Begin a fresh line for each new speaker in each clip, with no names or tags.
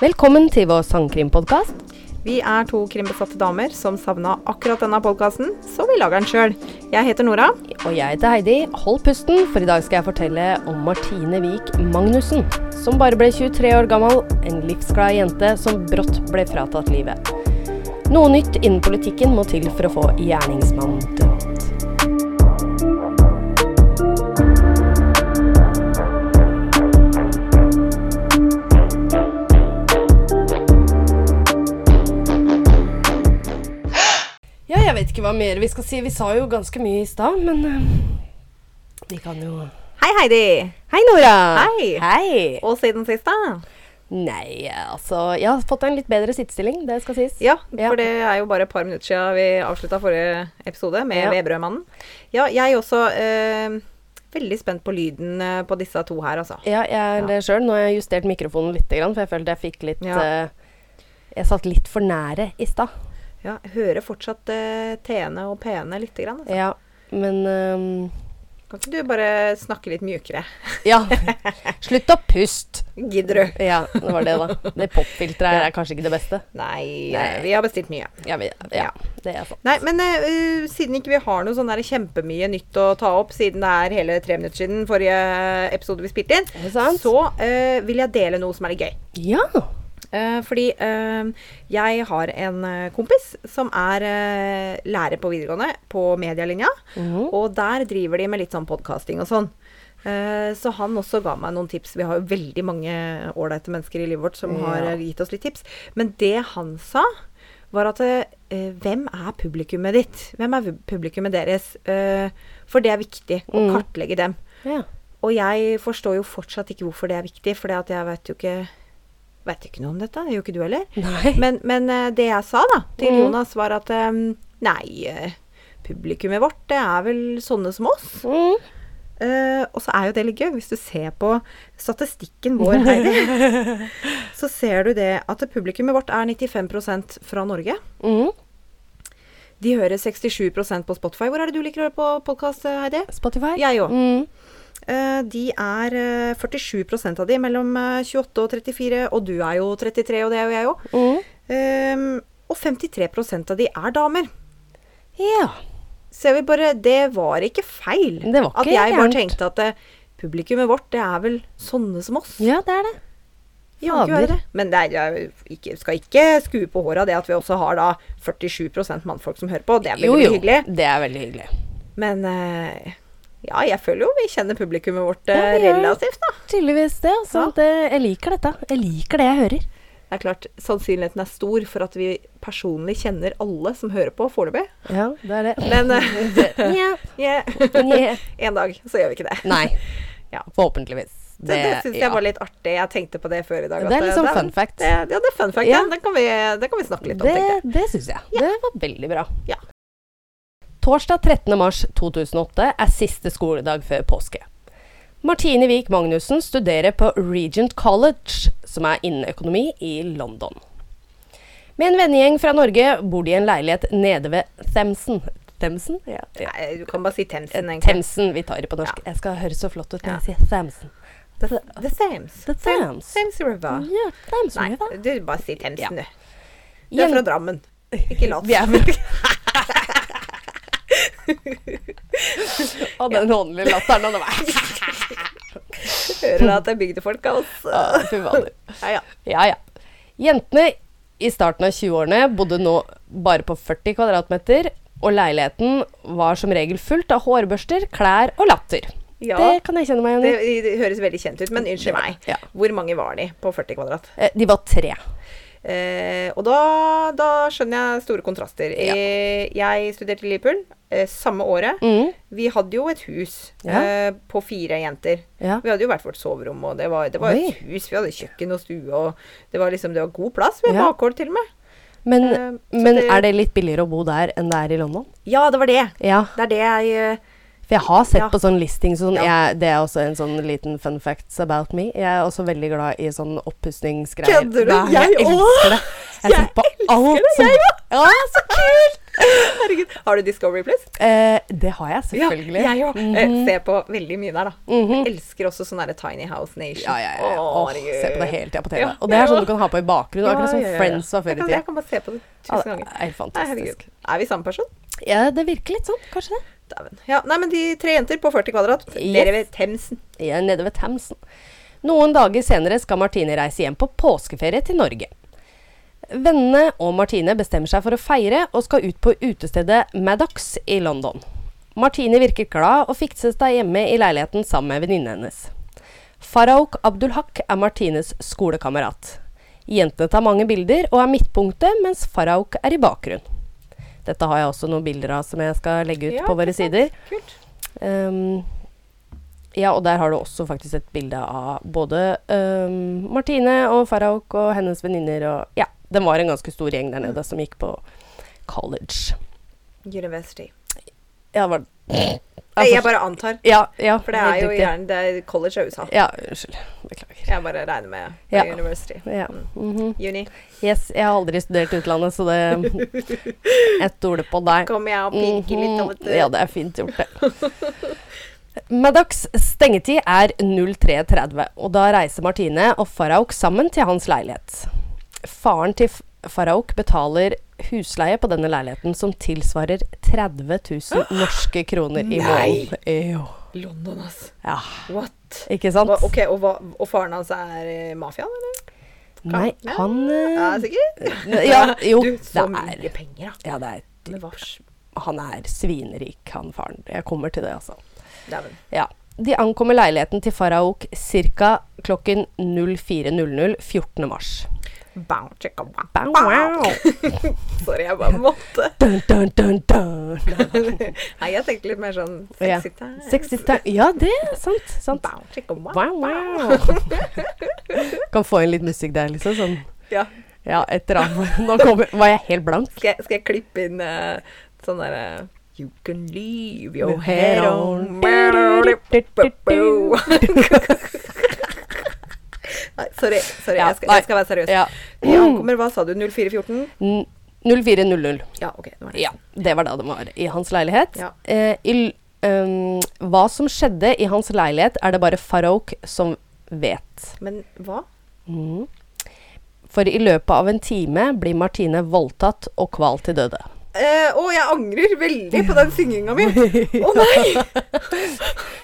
Velkommen til vår sangkrimpodkast.
Vi er to krimbesatte damer som savna akkurat denne podkasten, så vi lager den sjøl. Jeg heter Nora.
Og jeg heter Heidi. Hold pusten, for i dag skal jeg fortelle om Martine Vik Magnussen. Som bare ble 23 år gammel, en livsglad jente som brått ble fratatt livet. Noe nytt innen politikken må til for å få gjerningsmannen dømt. Ja, jeg vet ikke hva mer vi skal si. Vi sa jo ganske mye i stad, men eh, vi kan jo
Hei, Heidi.
Hei, Nora.
Hei.
Hei.
Og siden sist, da?
Nei, altså Jeg har fått en litt bedre sittestilling, det skal sies.
Ja, for
Ja.
det er jo bare et par minutter siden vi avslutta forrige episode med
Ja.
Vedbrødmannen. Ja, jeg også eh, veldig spent på lyden eh, på disse to her, altså.
Ja, jeg er
Ja.
det sjøl. Nå har jeg justert mikrofonen litt, for jeg følte jeg fikk litt
Ja.
eh, Jeg satt litt for nære i stad.
Ja, jeg hører fortsatt eh, T-ene og P-ene lite grann. Altså.
Ja, men ehm,
Kan ikke du bare snakke litt mjukere?
Ja. Slutt å puste!
Gidder du?
Ja, det var det, da. Det popfilteret her er kanskje ikke det beste.
Nei,
Nei.
vi har bestilt mye.
Ja, vi- ja det er sant.
Nei, men eh, uh, siden ikke vi har noe sånn der kjempemye nytt å ta opp, siden det er hele tre minutter siden forrige episode vi spilte inn,
Er det sant?
så eh, vil jeg dele noe som er litt gøy.
Ja.
Eh, fordi eh, jeg har en eh, kompis som er eh, lærer på videregående på medielinja.
Mhm.
Og der driver de med litt sånn podkasting og sånn. Eh, så han også ga meg noen tips. Vi har jo veldig mange ålreite mennesker i livet vårt som har
Ja.
eh, gitt oss litt tips. Men det han sa, var at eh, hvem er publikummet ditt? Hvem er publikummet deres? Eh, for det er viktig å
Mm.
kartlegge dem.
ja.
Og jeg forstår jo fortsatt ikke hvorfor det er viktig, for jeg vet jo ikke Vet jo ikke noe om dette. Det gjør ikke du heller.
Nei.
Men, men eh, det jeg sa da til
Mhm.
Jonas, var at eh, nei, eh, publikummet vårt, det er vel sånne som oss.
Mm.
Eh, og så er jo det litt gøy, hvis du ser på statistikken vår, Heidi, så ser du det at publikummet vårt er 95 fra Norge.
Mm.
De hører 67 på Spotify. Hvor er det du liker å høre på podkast, Heidi?
Spotify.
Jeg òg.
Mm.
Eh, De er eh, 47 av de mellom eh, 28 og 34, og du er jo 33, og det er jo jeg òg.
Mm.
og 53 av de er damer.
Ja.
Ser vi bare Det var ikke feil.
Det var
at
ikke
jeg bare
gærent.
tenkte at eh, publikummet vårt, det er vel sånne som oss.
ja, det er det.
Vi kan ikke
fader.
være det. Men det er, jeg ikke, skal ikke skue på håret av det at vi også har da 47 mannfolk som hører på. Det er veldig
Jo, jo.
hyggelig.
Det er veldig hyggelig.
Men eh, ja, jeg føler jo vi kjenner publikummet vårt eh,
Ja, vi gjør det.
relativt, da.
Tydeligvis det. Altså,
Ja.
det. Jeg liker dette. Jeg liker det jeg hører.
Det er klart, Sannsynligheten er stor for at vi personlig kjenner alle som hører på foreløpig.
Ja, det er det.
Men eh,
Nja.
yeah.
Nja.
en dag så gjør vi ikke det.
Nei.
Ja.
Forhåpentligvis.
Så det syns jeg
ja.
var litt artig. Jeg tenkte på det før i dag.
Det er
at,
litt sånn
eh,
fun fact.
Det, ja, det er fun fact.
Ja.
Ja. Den, kan vi, den kan vi snakke litt om, tenkte jeg.
Det, det syns jeg. Det var veldig bra.
Ja.
Torsdag 13. mars 2008 er siste skoledag før påske. Martine Wiik Magnussen studerer på Regent College, som er innenøkonomi i London. Med en vennegjeng fra Norge bor de i en leilighet nede ved Themsen. Themsen? Ja. ja.
Nei, du kan bare si Themsen, egentlig.
Themsen. Vi tar det på norsk. Jeg skal høre så flott ut når
Ja.
jeg sier Themsen.
The, the Thames.
The Thames.
Thames River.
Ja, Thames
Nei,
River.
du bare si Themsen, du. Du er
Jen-
fra Drammen. Ikke lat
Vi er
som.
Å, den håndlige latteren. og det var-
Hører da at det er bygdefolk av oss.
Å, Fy fader.
Ja, ja.
Ja, ja. Jentene i starten av 20-årene bodde nå bare på 40 kvadratmeter, og leiligheten var som regel fullt av hårbørster, klær og latter.
Ja.
Det kan jeg kjenne meg igjen
Det,
i.
det høres veldig kjent ut, men unnskyld meg.
Ja.
Hvor mange var de på 40 kvadrat?
Eh, De var tre.
Eh, og da, da skjønner jeg store kontraster.
Ja.
Eh, jeg studerte i Liverpool eh, samme året.
Mm.
Vi hadde jo et hus
Ja.
eh, på fire jenter.
Ja.
Vi hadde jo hvert vårt soverom, og det var, det var et hus. Vi hadde kjøkken og stue, og det var liksom det var god plass. Vi hadde
Ja.
bakgård til og med.
Men,
Eh, så
men
det-
er det litt billigere å bo der enn det er i London?
Ja, det var det.
Ja.
Det er det jeg eh,
For jeg har sett
Ja.
på sånn listing sånn,
Ja.
jeg, Det er også en sånn liten fun facts about me. Jeg er også veldig glad i sånn oppussingsgreier.
Kødder du?
Nei,
Jeg
elsker det. Jeg
Jeg
sitter på alt
elsker det,
som Ja, så kult!
eh, Herregud. Har du Discovery Plus?
Eh, det har jeg, selvfølgelig.
Ja, jeg òg.
Mhm.
Eh, Ser på veldig mye der, da.
Mhm.
Jeg elsker også sånn derre Tiny House Nation.
Ja, ja, ja.
Å,
Åh,
herregud.
se på det hele tida på TV.
Ja,
og det er
ja.
sånn du kan ha på i bakgrunnen.
Ja,
Akkurat som
ja, ja, ja.
Friends var før
Jeg
i
kan-
tida.
Jeg kan bare se på det
Ja,
tusen
det er helt
ganger. Nei, herregud.
fantastisk.
Er vi samme person?
Ja, det virker litt sånn, kanskje det.
Dæven. Ja, nei, men de tre jenter på 40 kvadrat,
Yes.
dere ved Themsen.
Ja, nede ved Thamsen. Noen dager senere skal Martine reise hjem på påskeferie til Norge. Vennene og Martine bestemmer seg for å feire og skal ut på utestedet Maddox i London. Martine virker glad og fikset seg hjemme i leiligheten sammen med venninnen hennes. Faraok Abdulhak er Martines skolekamerat. Jentene tar mange bilder og er midtpunktet, mens Faraok er i bakgrunnen. Dette har jeg også noen bilder av som jeg skal legge ut
Ja,
på våre
ikke sant?
sider.
Kult.
Ehm, ja, og der har du også faktisk et bilde av både ehm, Martine og Faraok og hennes venninner og Ja, den var en ganske stor gjeng der nede som gikk på college.
University.
Ja, det var
Nei, jeg bare antar.
ja, ja,
For det er
helt
jo
riktig.
gjerne det er college av USA.
Ja, unnskyld. Beklager.
Jeg bare regner med
Ja.
University.
Ja. mhm.
Uni.
Yes, jeg har aldri studert utlandet, så det Jeg stoler på deg.
Kommer jeg og pirker litt
Mhm.
over til
Ja, det er fint gjort, det. Maddox stengetid er 03.30, og da reiser Martine og Faraok sammen til hans leilighet. Faren til F- Faraok betaler husleie på denne leiligheten som tilsvarer 30 000 norske kroner i
Nei!
måneden. Jo.
London, ass.
Ja,
What?
ikke sant?
Hva, ok, og, hva, og faren hans er eh, mafiaen, eller?
Nei,
Ja.
han
Ja,
eh,
sikkert?
Ja, jo,
du, så
det er-
mye penger, da.
Ja, det er
Men hva sj-
han er svinrik, han faren. Jeg kommer til det, altså.
Dæven.
Ja. De ankommer leiligheten til Faraok ca. klokken 04.00 14. mars.
Bow, chicka, bow.
Bow wow!
Sorry, jeg bare måtte.
Dun, dun, dun, dun.
Nei, jeg tenkte litt mer sånn
Ja.
sexy time.
Sexy time. Ja, det er sant. sant.
Bow, chicka, bow.
Wow, wow. Kan få inn litt musikk der, liksom. Sånn.
Ja.
Ja, et eller annet. Nå kommer, var jeg helt blank.
Skal, jeg, skal jeg klippe inn eh, sånn derre You can leave your head on Nei, sorry. sorry
Ja,
jeg, skal, jeg skal være seriøs.
Ja.
De ankommer, hva sa du? 0414?
N- 04.00.
Ja, OK. Det var det.
Ja, det var da de var i hans leilighet.
Ja.
Eh, i, l- um, hva som skjedde i hans leilighet, er det bare Farouk som vet.
Men hva?
Mhm. For i løpet av en time blir Martine voldtatt og kvalt til døde.
Eh, å, jeg angrer veldig på den synginga mi! Å nei!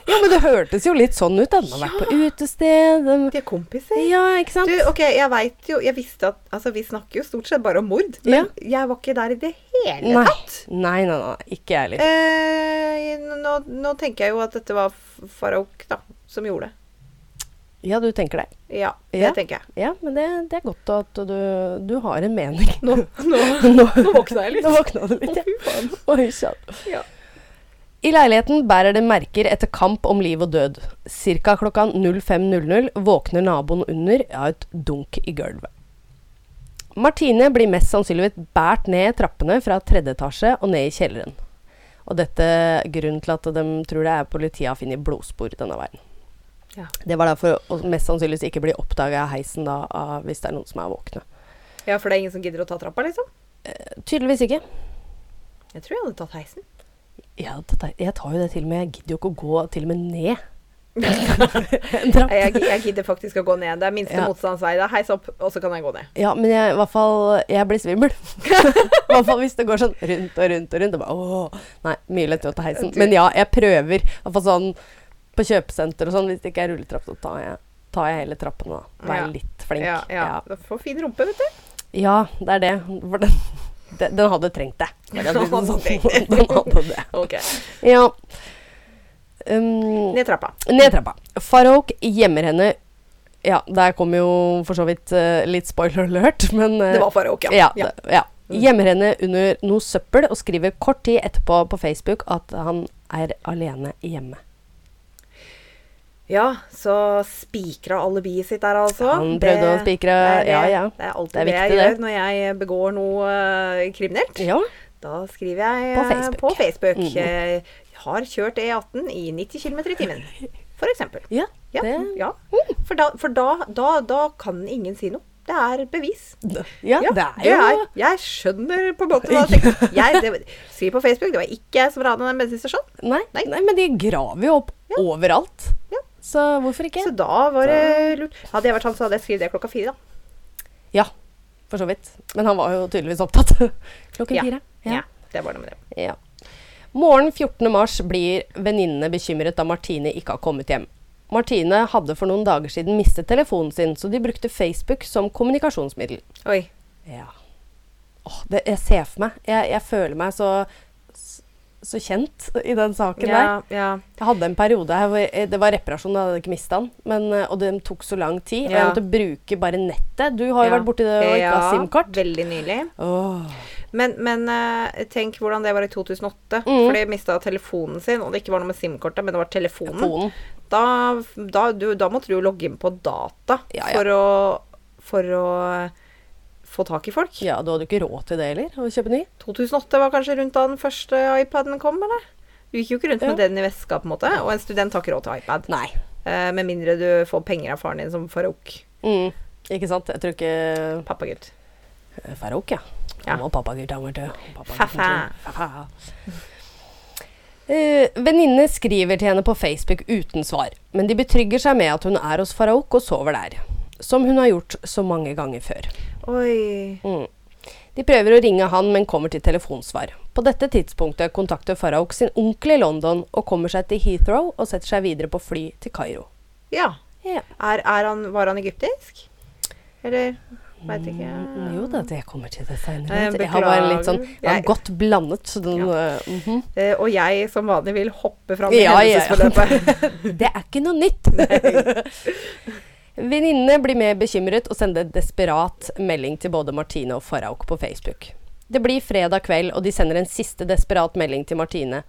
Jo, men det hørtes jo litt sånn ut. da. Den har vært på utested. Den,
De er kompiser.
ja, ikke sant?
Du, ok, jeg vet jo Jeg visste at Altså, vi snakker jo stort sett bare om mord, men jeg var ikke der i det hele
Nei.
tatt.
Nei, nei, nei, ikke jeg heller.
Eh, nå, nå tenker jeg jo at dette var F- Farouk, da, som gjorde det.
Ja, du tenker det.
Ja, det
Ja.
tenker jeg.
Ja, men det, det er godt at du, du har en mening.
Nå, nå, nå våkna jeg litt.
Nå våkna du litt,
Å,
ja.
fy faen.
Oi, sann.
Ja.
I leiligheten bærer det merker etter kamp om liv og død. Cirka klokka 05.00 våkner naboen under av et dunk i gulvet. Martine blir mest sannsynligvis båret ned trappene fra tredje etasje og ned i kjelleren. Og dette grunnen til at de tror det er politiet har funnet blodspor denne veien.
Ja.
Det var derfor å mest sannsynligvis ikke bli oppdaga av heisen da, av, hvis det er noen som er våkne.
ja, for det er ingen som gidder å ta trappa, liksom?
Tydeligvis ikke.
Jeg tror jeg hadde tatt heisen.
Ja, dette, jeg tar jo det til og med. Jeg gidder jo ikke å gå til og med ned. en trapp.
Nei, Jeg, gi- jeg gidder faktisk å gå ned. Det er minste
Ja.
motstandsvei. Det er heis opp, og så kan jeg gå ned.
Ja, men jeg, i hvert fall Jeg blir svimmel. I hvert fall hvis det går sånn rundt og rundt og rundt. Og bare, åh, nei, mye lettere å ta heisen. Men ja, jeg prøver. I hvert fall sånn på kjøpesenter og sånn. Hvis det ikke er rulletrapp, så tar jeg, tar jeg hele trappen. da. Vær
Ja.
litt flink.
Ja, ja. Du får fin rumpe, vet du.
Ja, det er det. For den, den, den hadde trengt det.
Den
Jeg blir
hadde
sånn-
trengt det.
den hadde det.
Ok.
Ja. Um,
Ned trappa.
Ned trappa. Farouk gjemmer henne Ja, der kom jo for så vidt eh, litt spoiler alert, men eh,
Det var Farouk, ja.
ja,
Ja.
det- ja.
Mm.
Gjemmer henne under noe søppel og skriver kort tid etterpå på Facebook at han er alene hjemme.
Ja, så spikra alibiet sitt der, altså.
Han prøvde å spikre
det er det-
Ja, ja.
Det er alltid
Det er
det, jeg
viktig,
gjør
det.
når jeg begår noe eh, kriminelt.
Ja,
Da skriver jeg
På
eh,
Facebook.
På Facebook.
Mm.
Eh, har kjørt E18 i 90 km i timen, f.eks.
ja,
Ja,
Det- Oh.
ja. For, da, for da, da, da kan ingen si noe. Det er bevis.
Ja, det er jo
Jeg skjønner på en måte hva jeg tenker. Jeg, det, skriv på Facebook. Det var ikke jeg som ranet den bensinstasjonen.
Nei, nei.
Nei.
men de graver jo opp overalt.
Ja.
Så hvorfor ikke?
Så da var det lurt. Hadde jeg vært han, så hadde jeg skrevet det klokka fire, da.
Ja, for så vidt. Men han var jo tydeligvis opptatt. Klokken
Ja.
fire.
Ja, det var det med det.
Ja. Morgen 14. mars blir venninnene bekymret da Martine ikke har kommet hjem. Martine hadde for noen dager siden mistet telefonen sin, så de brukte Facebook som kommunikasjonsmiddel.
Oi.
Ja. Åh, det, jeg ser for meg. Jeg, jeg føler meg så, så, så kjent i den saken der.
Ja, ja.
Jeg hadde en periode her hvor eh, det var reparasjon, da hadde jeg ikke mista den. Men, eh, og den tok så lang tid, og jeg
Ja.
måtte bruke bare nettet. Du har jo vært borti det og ikke har SIM-kart.
Veldig nylig.
Åh.
Men, men eh, tenk hvordan det var i 2008.
Mm.
For de mista telefonen sin, og det ikke var noe med SIM-kortet, men det var telefonen.
Telefonen.
Da, da, du, da måtte du jo logge inn på data
Ja, ja.
For, å, for å eh, få tak i folk.
Ja, du hadde jo ikke råd til det heller, å kjøpe ny.
2008 var kanskje rundt da den første iPaden kom, eller? Du gikk jo ikke rundt med
Ja.
den i veska, på en måte. Og en student har ikke råd til iPad.
Nei.
Eh, med mindre du får penger av faren din som farouk.
Mm. Ikke sant? Jeg tror ikke eh,
Pappagutt.
Farouk, ja.
Ja.
Han var pappagutt, han, vet du.
Fa-fa.
Fa-fa. Eh, Venninnene skriver til henne på Facebook uten svar, men de betrygger seg med at hun er hos Farouk og sover der. Som hun har gjort så mange ganger før.
Oi.
Mm. De prøver å ringe han, men kommer til telefonsvar. På dette tidspunktet kontakter Farouk sin onkel i London og kommer seg til Heathrow og setter seg videre på fly til Kairo.
Ja.
Ja.
Er, er han, var han egyptisk? Eller veit ikke.
Mm, Jo da, det kommer til det
Nei,
seinere.
jeg
Jeg har bare litt sånn
Eh, beklager.
jeg har
Jeg-
godt blandet. Så den,
Ja.
eh, mhm.
Eh, og jeg som vanlig vil hoppe fram i
Ja, ja, ja.
hendelsesforløpet.
Det er ikke noe nytt! Venninnene blir mer bekymret og sender desperat melding til både Martine og Farrauk på Facebook. Det blir fredag kveld, og de sender en siste desperat melding til Martine.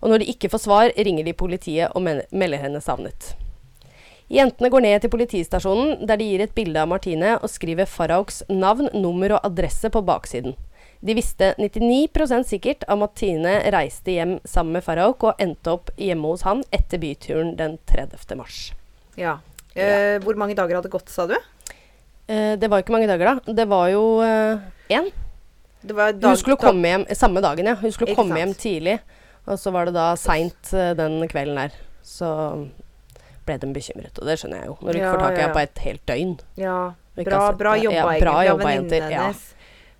Og når de ikke får svar, ringer de politiet og men- melder henne savnet. Jentene går ned til politistasjonen, der de gir et bilde av Martine og skriver Farauks navn, nummer og adresse på baksiden. De visste 99 sikkert at Martine reiste hjem sammen med Farauk og endte opp hjemme hos han etter byturen den 30. mars.
ja. Eh, hvor mange dager hadde gått, sa du?
Eh, det var ikke mange dager, da. Det var jo eh, én.
Det var dag-
Hun skulle
dag-
komme hjem eh, samme dagen, ja. Hun skulle
Ikke
komme
sant.
hjem tidlig. Og så var det da seint eh, den kvelden der. Så ble de bekymret, og det skjønner jeg jo. Når du ikke
Ja,
får tak i
ja,
henne
ja.
på et helt døgn.
Ja,
Vi kan
bra,
sette-
bra jobba,
ja, bra
egentlig, av
jobba, jenter,
venninnen
ja.
hennes.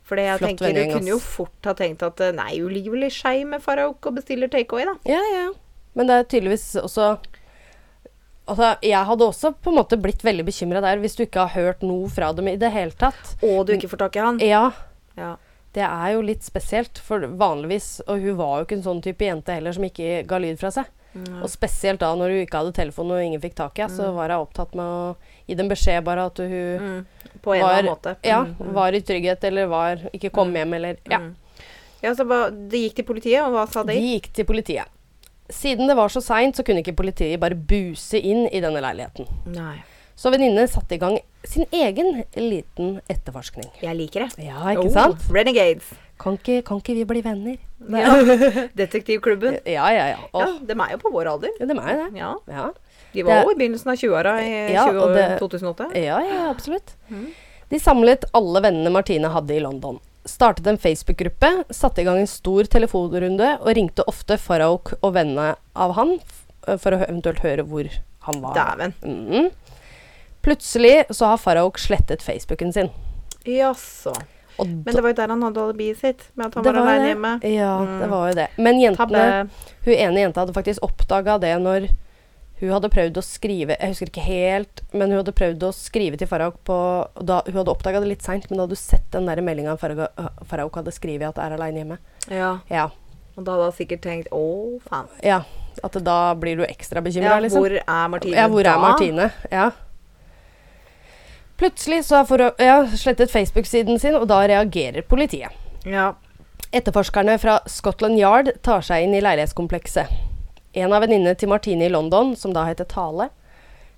For jeg
Flott
tenker,
vending,
du kunne jo
ass.
fort ha tenkt at eh, nei, ulivelig skei med Farouk og bestiller takeaway, da.
Ja, ja. Men det er tydeligvis også Altså, jeg hadde også på en måte blitt veldig bekymra der hvis du ikke har hørt noe fra dem i det hele tatt.
Og du ikke får tak i han.
Ja,
Ja.
det er jo litt spesielt, for vanligvis Og hun var jo ikke en sånn type jente heller som ikke ga lyd fra seg.
Mm.
Og spesielt da når hun ikke hadde telefon og ingen fikk tak i henne, så var hun opptatt med å gi dem beskjed bare at hun
Mm. På en eller
var,
annen måte.
ja,
Mm, mm.
var i trygghet eller var ikke kom
Mm.
hjem eller Ja.
Mm. ja, så ba, Det gikk til politiet, og hva sa de?
De gikk til politiet. Siden det var så seint, så kunne ikke politiet bare buse inn i denne leiligheten.
Nei.
Så venninnen satte i gang sin egen liten etterforskning.
Jeg liker det.
Ja, ikke
Oh,
sant?
Renegades.
Kan ikke, kan ikke vi bli venner?
Ja. Detektivklubben.
Ja, ja, ja.
Ja,
Åh,
de er jo på vår alder.
ja. Det er meg, det.
Ja.
Ja.
De var
Det-
jo i begynnelsen av 20-åra i
Ja,
20
og det-
2008.
ja, ja, absolutt.
Mhm.
De samlet alle vennene Martine hadde i London. Startet en Facebook-gruppe, satte i gang en stor telefonrunde og ringte ofte Farouk og vennene av han f- eh, for å hø- eventuelt høre hvor han var.
Dæven.
Mhm. Plutselig så har Farouk slettet Facebooken sin.
Jaså.
Og
Men det var jo der han hadde alibiet sitt, med at han
Det
var
var
aleine
det.
hjemme.
da- ja,
Mm.
det var jo det. Men jentene
Tabbe.
Hun ene jenta hadde faktisk oppdaga det når hun hadde prøvd å skrive Jeg husker ikke helt, men hun hadde prøvd å skrive til Farahok på da, Hun hadde oppdaga det litt seint, men da hadde hun sett den der meldinga Farahok øh, hadde skrevet at er aleine hjemme.
Ja.
Ja.
Og da hadde han sikkert tenkt Å, faen.
ja. At da blir du ekstra
Ja,
bekymra, liksom.
hvor er Martine
ja, hvor
da?
er Martine? Ja. Plutselig så har Farah ja, slettet Facebook-siden sin, og da reagerer politiet.
Ja.
Etterforskerne fra Scotland Yard tar seg inn i leilighetskomplekset. En av venninnene til Martine i London, som da heter Tale,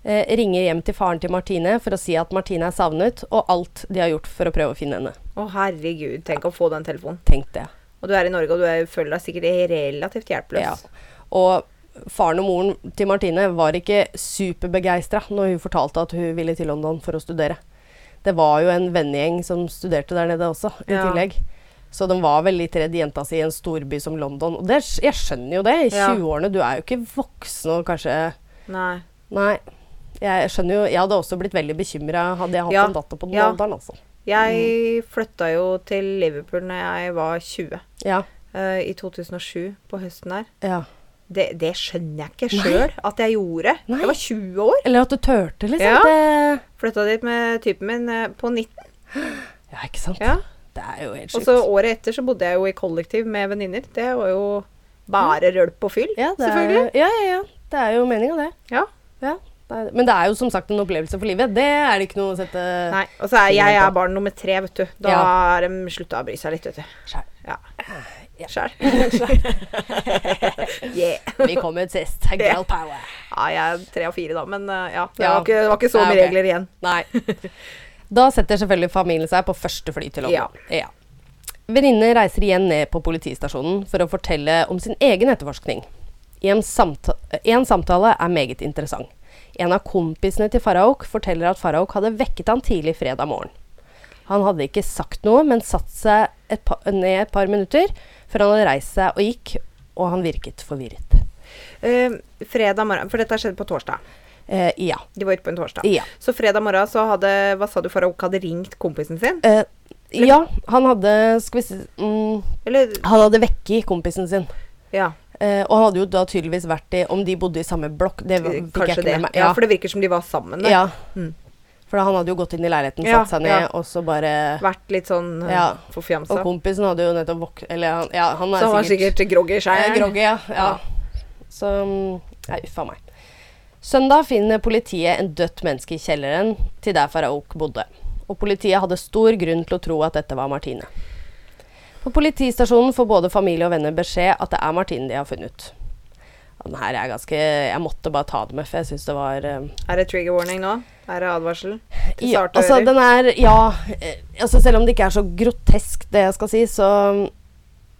eh, ringer hjem til faren til Martine for å si at Martine er savnet, og alt de har gjort for å prøve å finne henne.
Å, herregud. Tenk å få den telefonen.
Tenk det.
Og du er i Norge, og du er, føler deg sikkert relativt hjelpeløs.
Ja. Og faren og moren til Martine var ikke superbegeistra når hun fortalte at hun ville til London for å studere. Det var jo en vennegjeng som studerte der nede også, i
Ja.
tillegg. Så de var veldig redd jenta si i en storby som London. Og det, jeg skjønner jo det. I
Ja.
20-årene, du er jo ikke voksen og kanskje
Nei.
Nei. Jeg skjønner jo Jeg hadde også blitt veldig bekymra hadde jeg hatt
Ja.
en datter på den
Ja.
alderen, altså.
Jeg flytta jo til Liverpool når jeg var 20.
Ja.
eh, I 2007, på høsten der.
ja.
Det, det skjønner jeg ikke sjøl at jeg gjorde.
Nei.
Jeg var 20 år.
Eller at du turte, liksom.
Ja.
Det
Flytta dit med typen min eh, på 19.
Ja, ikke sant?
Ja.
Det er jo helt
Og så
sjukt.
året etter så bodde jeg jo i kollektiv med venninner. Det var jo bare rølp og fyll,
Ja, det er-
selvfølgelig.
Ja, ja, ja. Det er jo meninga, det.
Ja.
Ja. det er- Men det er jo som sagt en opplevelse for livet. Det er det ikke noe å sette
Nei, og så er jeg er barn nummer tre, vet du. Da
Ja.
har de slutta å bry seg litt, vet du.
Skjær.
Ja.
Ja.
Sjæl. yeah.
Vi kom ut sist. Girl power.
Ja, jeg er tre av fire, da, men eh, ja. Det
Ja.
var ikke, det var ikke så
Nei,
mye
ok.
regler igjen.
Nei. Da setter selvfølgelig familien seg på første fly til London. Ja. Venninne reiser igjen ned på politistasjonen for å fortelle om sin egen etterforskning. En, samta en samtale er meget interessant. En av kompisene til Farahok forteller at Farahok hadde vekket han tidlig fredag morgen. Han hadde ikke sagt noe, men satt seg et pa ned et par minutter før han hadde reist seg og gikk, og han virket forvirret.
Eh, fredag morgen, for dette skjedde på torsdag.
Eh, ja.
De var ute på en torsdag.
Ja.
Så fredag morgen så hadde Hva sa du, Farouk hadde ringt kompisen sin?
Eh, ja, han hadde Skal vi si mm,
Eller
Han hadde vekket kompisen sin.
Ja,
Eh, og han hadde jo da tydeligvis vært i Om de bodde i samme blokk, det var- fikk jeg
Eh, kanskje
ikke
det.
med meg.
Ja, for det virker som de var sammen. da.
ja.
Mm.
For han hadde jo gått inn i leiligheten,
Ja,
satt seg ned,
ja.
og så bare
Vært litt sånn eh,
Ja.
forfjamsa.
Og kompisen hadde jo nettopp våk... Eller han, ja, han er
Så han var sikkert groggy i
Eh,
skjæren.
Groggy, ja. ja. Så mm, Nei, uff a meg. Søndag finner politiet en dødt menneske i kjelleren til der Faraok bodde. Og politiet hadde stor grunn til å tro at dette var Martine. På politistasjonen får både familie og venner beskjed at det er Martine de har funnet. Og Den her er ganske Jeg måtte bare ta det med, for jeg syns det var eh,
Er det trigger warning nå? Er det advarsel? Til
ja,
sarte
altså,
ører?
den er, ja, eh, altså Selv om det ikke er så grotesk, det jeg skal si, så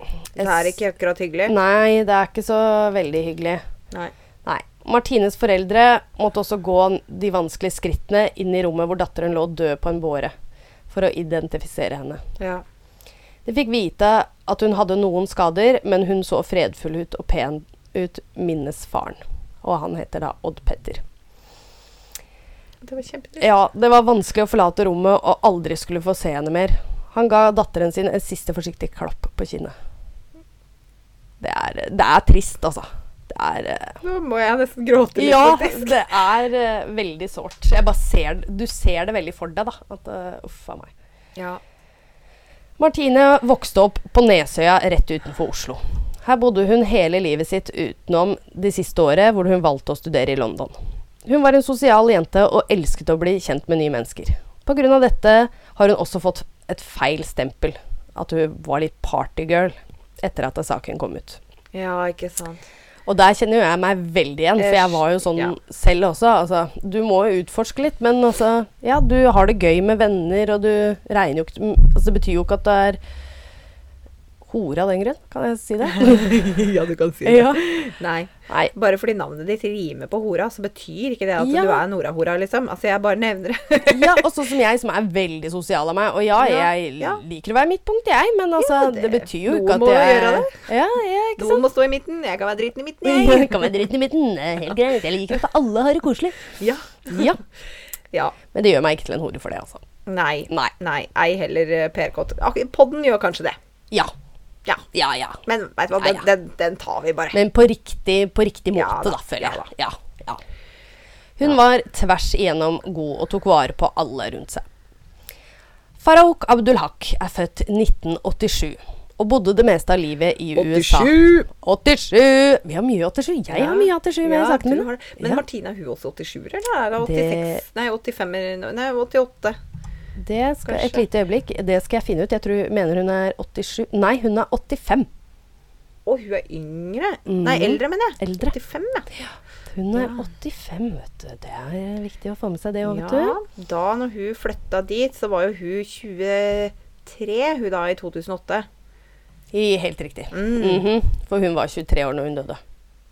eh,
Det er ikke akkurat hyggelig.
Nei, det er ikke så veldig hyggelig.
Nei.
Nei. Martines foreldre måtte også gå n- de vanskelige skrittene inn i rommet hvor datteren lå død på en båre, for å identifisere henne.
Ja.
De fikk vite at hun hadde noen skader, men hun så fredfull ut og pen ut, minnes faren. Og han heter da Odd Petter.
Det var kjempetrist.
Ja, det var vanskelig å forlate rommet og aldri skulle få se henne mer. Han ga datteren sin en siste forsiktig klapp på kinnet. Det er, det er trist, altså. Det er eh,
Nå må jeg nesten gråte litt,
Ja,
faktisk.
det er eh, veldig sårt. Jeg bare ser, du ser det veldig for deg, da. At, eh, uff a meg.
Ja.
Martine vokste opp på Nesøya rett utenfor Oslo. Her bodde hun hele livet sitt utenom de siste året hvor hun valgte å studere i London. Hun var en sosial jente og elsket å bli kjent med nye mennesker. Pga. dette har hun også fått et feil stempel, at hun var litt partygirl, etter at saken kom ut.
ja, ikke sant.
Og der kjenner jo jeg meg veldig igjen, for jeg var jo sånn
Ja.
selv også. Altså, du må jo utforske litt, men altså Ja, du har det gøy med venner, og du regner jo ikke altså, Det betyr jo ikke at du er hore av den grunn, kan jeg si det?
ja, du kan si
ja.
Nei.
Nei.
Bare fordi navnet ditt rimer på hora, så betyr ikke det at
Ja.
du er Nora-hora, liksom. Altså, jeg bare nevner det.
Ja, og sånn som jeg, som er veldig sosial av meg. Og ja,
Ja,
jeg
ja.
liker å være midtpunkt, jeg, men altså
Ja,
det,
det-
betyr jo
noen
ikke at
må jo
jeg
gjøre det.
Ja, ja, ikke sant?
Noen må stå i midten, jeg kan være dritten i midten,
Det
jeg.
kan være dritten i midten. det er Helt greit. Jeg liker at alle har det koselig.
Ja.
Ja.
ja.
Men det gjør meg ikke til en hore for det, altså.
Nei.
Nei.
Nei. Ei heller eh, Per Kott. Ak- Podden gjør kanskje det.
Ja.
Ja.
Ja, ja.
Men vet du hva,
Ja,
den,
ja.
den, den tar vi bare.
Men på riktig, på riktig måte,
Ja da,
da, føler jeg.
ja
Ja, ja. Hun var tvers igjennom god og tok vare på alle rundt seg. Faraok Abdulhak er født 1987 og bodde det meste av livet i USA.
87!
87! Vi har mye 87. Jeg har mye 87 med
Ja,
sakene
du har
mine.
det. Men
Ja,
Martine, er hun også 87, eller er hun
Det-
86? Nei, 85 eller Nei, 88.
det skal, et
kanskje.
lite øyeblikk. Det skal jeg finne ut. Jeg tror, mener hun er 87 Nei, hun er 85.
Å, hun er yngre. Nei, eldre, mener jeg.
Mm. Eldre.
85, ja.
Hun er
Ja.
85, vet du. Det er viktig å få med seg det òg, vet
ja.
du.
Da når hun flytta dit, så var jo hun 23, hun da, i 2008.
I, helt riktig.
Mm.
Mhm, For hun var 23 år når hun døde.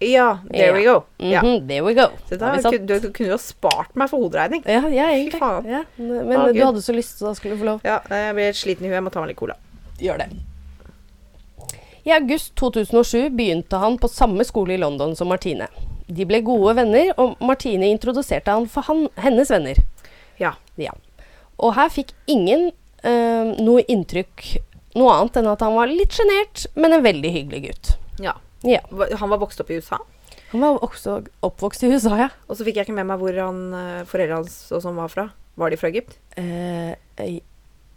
Ja, there we go. Ja.
Mhm, There we go.
Så
Da
da,
har vi satt-
kunne- du kunne jo spart meg for hoderegning.
Ja, ja, egentlig.
faen.
Ja. Men
Å,
du
Gud.
hadde så lyst, så da skulle du få lov.
Ja, jeg blir sliten i huet. Jeg må ta meg litt cola.
Gjør det. I august 2007 begynte han på samme skole i London som Martine. De ble gode venner, og Martine introduserte han for han, hennes venner.
Ja.
Ja. Og her fikk ingen eh, noe inntrykk noe annet enn at han var litt sjenert, men en veldig hyggelig gutt.
ja.
Ja.
Hva- Han var vokst opp i USA,
Han var også oppvokst i USA, ja.
og så fikk jeg ikke med meg hvor han, eh, foreldrene hans og sånn var fra. Var de fra Egypt?
Eh, eh,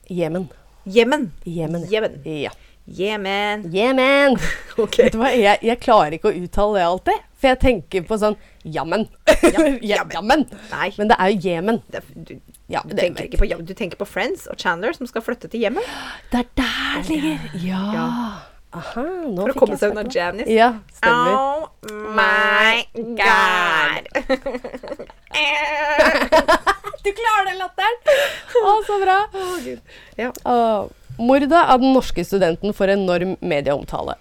Jemen.
Jemen.
Jemen. ja.
Jemen.
Ja.
Jemen.
Jemen!
Ok.
Vet du hva, jeg, jeg klarer ikke å uttale det alltid. For jeg tenker på sånn jammen. Ja,
jammen.
jammen.
Nei.
Men det er jo Jemen.
Det, er- du,
Ja,
du,
det
tenker
vet
ikke på, ja, du tenker på Friends og Chandler som skal flytte til hjemmet
Det er der det ligger. Ja.
Ja.
Aha, nå
for å
fikk
komme
jeg smak
seg unna
på det.
Janice.
Ja, stemmer.
Oh my god!
Du klarer den latteren! Å, så bra.
ja.
Åh, Mordet av den norske studenten får enorm medieomtale.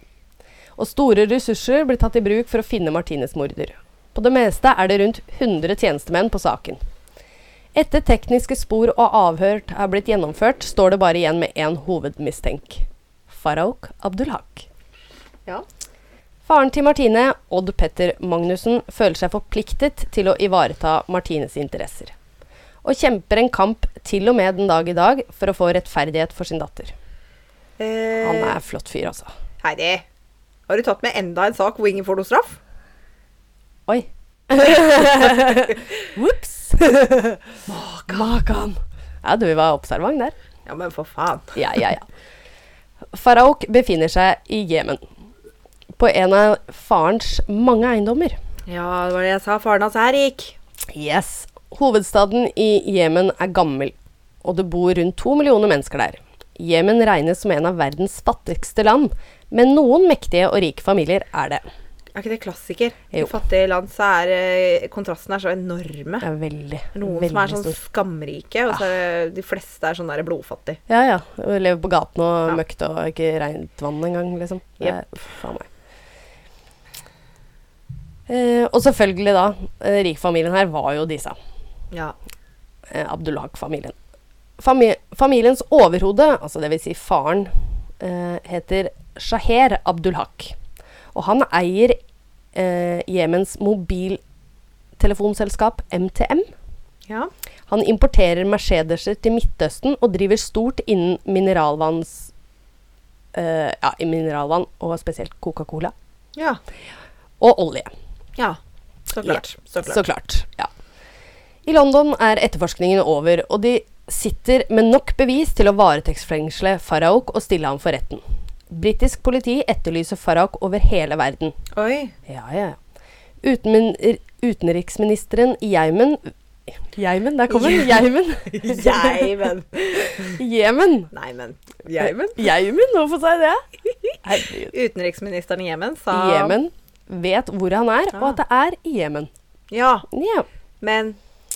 Og store ressurser blir tatt i bruk for å finne Martines morder. På det meste er det rundt 100 tjenestemenn på saken. Etter tekniske spor og avhør er blitt gjennomført, står det bare igjen med én hovedmistenk. Farouk Abdulhak.
ja.
Faren til Martine, Odd Petter Magnussen, føler seg forpliktet til å ivareta Martines interesser. Og kjemper en kamp til og med den dag i dag for å få rettferdighet for sin datter. Han er flott fyr, altså.
Eh, Heidi, har du tatt med enda en sak hvor ingen får noe straff?
Oi. Ops! Makan. Ja, du var observant der.
Ja, men for faen.
Ja, ja, ja. Faraok befinner seg i Jemen. På en av farens mange eiendommer.
Ja, det var det jeg sa. Faren hans er rik.
Yes. Hovedstaden i Jemen er gammel, og det bor rundt to millioner mennesker der. Jemen regnes som en av verdens fattigste land, men noen mektige og rike familier er det.
Er ikke det klassiker?
Jo.
I fattige land så er eh, kontrastene er så enorme.
Det er veldig,
Noen
veldig
som er sånn
stor. Ah.
skamrike, og så er det, de fleste er sånn der blodfattig.
Ja, ja. Lever på gaten og
Ja.
møkk og ikke rent vann engang, liksom. Det er- uff, faen meg. Eh, og selvfølgelig, da. Eh, Rikfamilien her var jo disse.
Ja.
Eh, Abdullah-familien. Fami familiens overhode, altså dvs. Si faren, eh, heter Shaher Abdulhak. Og han eier eh, Jemens mobiltelefonselskap MTM.
ja.
Han importerer Mercedeser til Midtøsten og driver stort innen mineralvanns... eh, ja, i mineralvann, og spesielt Coca-Cola.
Ja.
Og olje.
ja. Så klart. Så klart.
Så klart. Ja. I London er etterforskningen over, og de sitter med nok bevis til å varetektsfengsle Faraok og stille ham for retten. Britisk politi etterlyser Faraok over hele verden.
Oi.
Ja, ja. Utenmin- utenriksministeren i Jemen Jemen? Der kommer den! Jemen!
Jeg, men.
Jemen!
Nei, men. Jeg, men.
Jemen, hvorfor sa jeg det? Herregud.
Utenriksministeren i Jemen sa
Jemen vet hvor han er, og at det er i Jemen.
Ja,
Ja.
men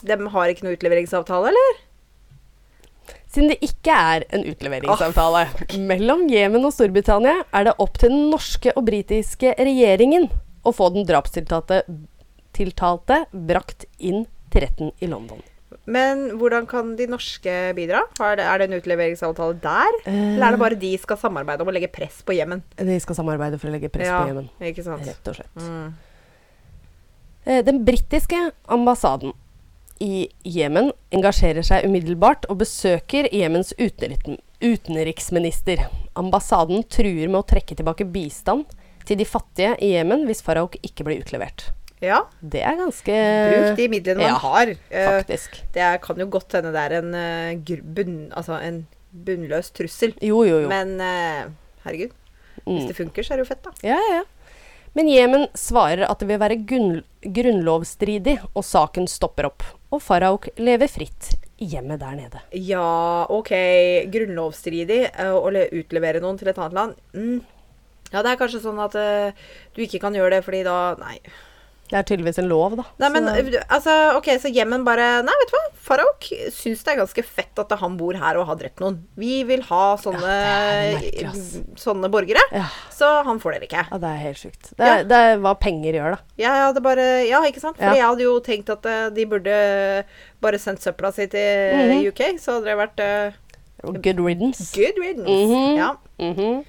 de har ikke noe utleveringsavtale, eller?
Siden det ikke er en utleveringsavtale mellom Jemen og Storbritannia, er det opp til den norske og britiske regjeringen å få den drapstiltalte tiltalte brakt inn til retten i London.
Ah, Men hvordan kan de norske bidra? Er det, er det en utleveringsavtale der?
Eh.
Eller er det bare de skal samarbeide om å legge press på Jemen?
De skal samarbeide for å legge press på Jemen.
ikke sant.
Rett og slett.
Mm.
Eh, Den britiske ambassaden i Jemen engasjerer seg umiddelbart og besøker Jemens utenriten- utenriksminister. Ambassaden truer med å trekke tilbake bistand til de fattige i Jemen hvis Farouk ikke blir utlevert.
Ja,
Det er ganske
bruk de midlene man
ja,
har. Eh,
Faktisk.
det er- kan jo godt hende det er en, eh, gr- bunn, altså en bunnløs trussel.
Jo, jo, jo.
Men eh, herregud, hvis
Mm.
det funker, så er det jo fett, da.
Ja, ja, ja. Men Jemen svarer at det vil være gunn- grunnlovsstridig, og saken stopper opp. Og Farouk lever fritt i hjemmet der nede.
Ja, OK. Grunnlovsstridig eh, å le- utlevere noen til et annet land. Mm. Ja, det er kanskje sånn at eh, du ikke kan gjøre det fordi da Nei.
Det er tydeligvis en lov, da.
Nei, men
Så-
eh, altså, ok, så Jemen bare Nei, vet du hva? Farouk syns det er ganske fett at han bor her og har drept noen. Vi vil ha sånne,
Ja, det er merkelig, ass.
sånne borgere.
Ja.
Så han får dere ikke.
ja, det er helt sjukt. Det er, det er hva penger gjør, da.
Jeg hadde bare Ja, ikke sant?
Ja.
Fordi jeg hadde jo tenkt at eh, de burde bare sendt søpla si til
Mhm.
eh, UK, så hadde det vært eh,
Good riddance.
good riddance.
Mhm.
Ja.
Mhm.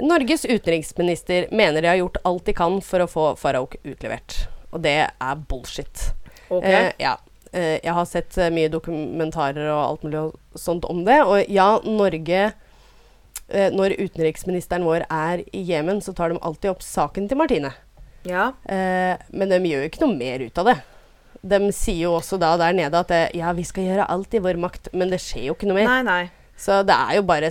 Norges utenriksminister mener de har gjort alt de kan for å få Farouk utlevert. Og det er bullshit.
Ok.
Eh, ja. Eh, jeg har sett eh, mye dokumentarer og alt mulig og sånt om det. Og ja, Norge eh, Når utenriksministeren vår er i Jemen, så tar de alltid opp saken til Martine.
ja.
Eh, men de gjør jo ikke noe mer ut av det. De sier jo også da der nede at eh, ja, vi skal gjøre alt i vår makt, men det skjer jo ikke noe mer.
Nei, nei.
Så det er jo bare
Tar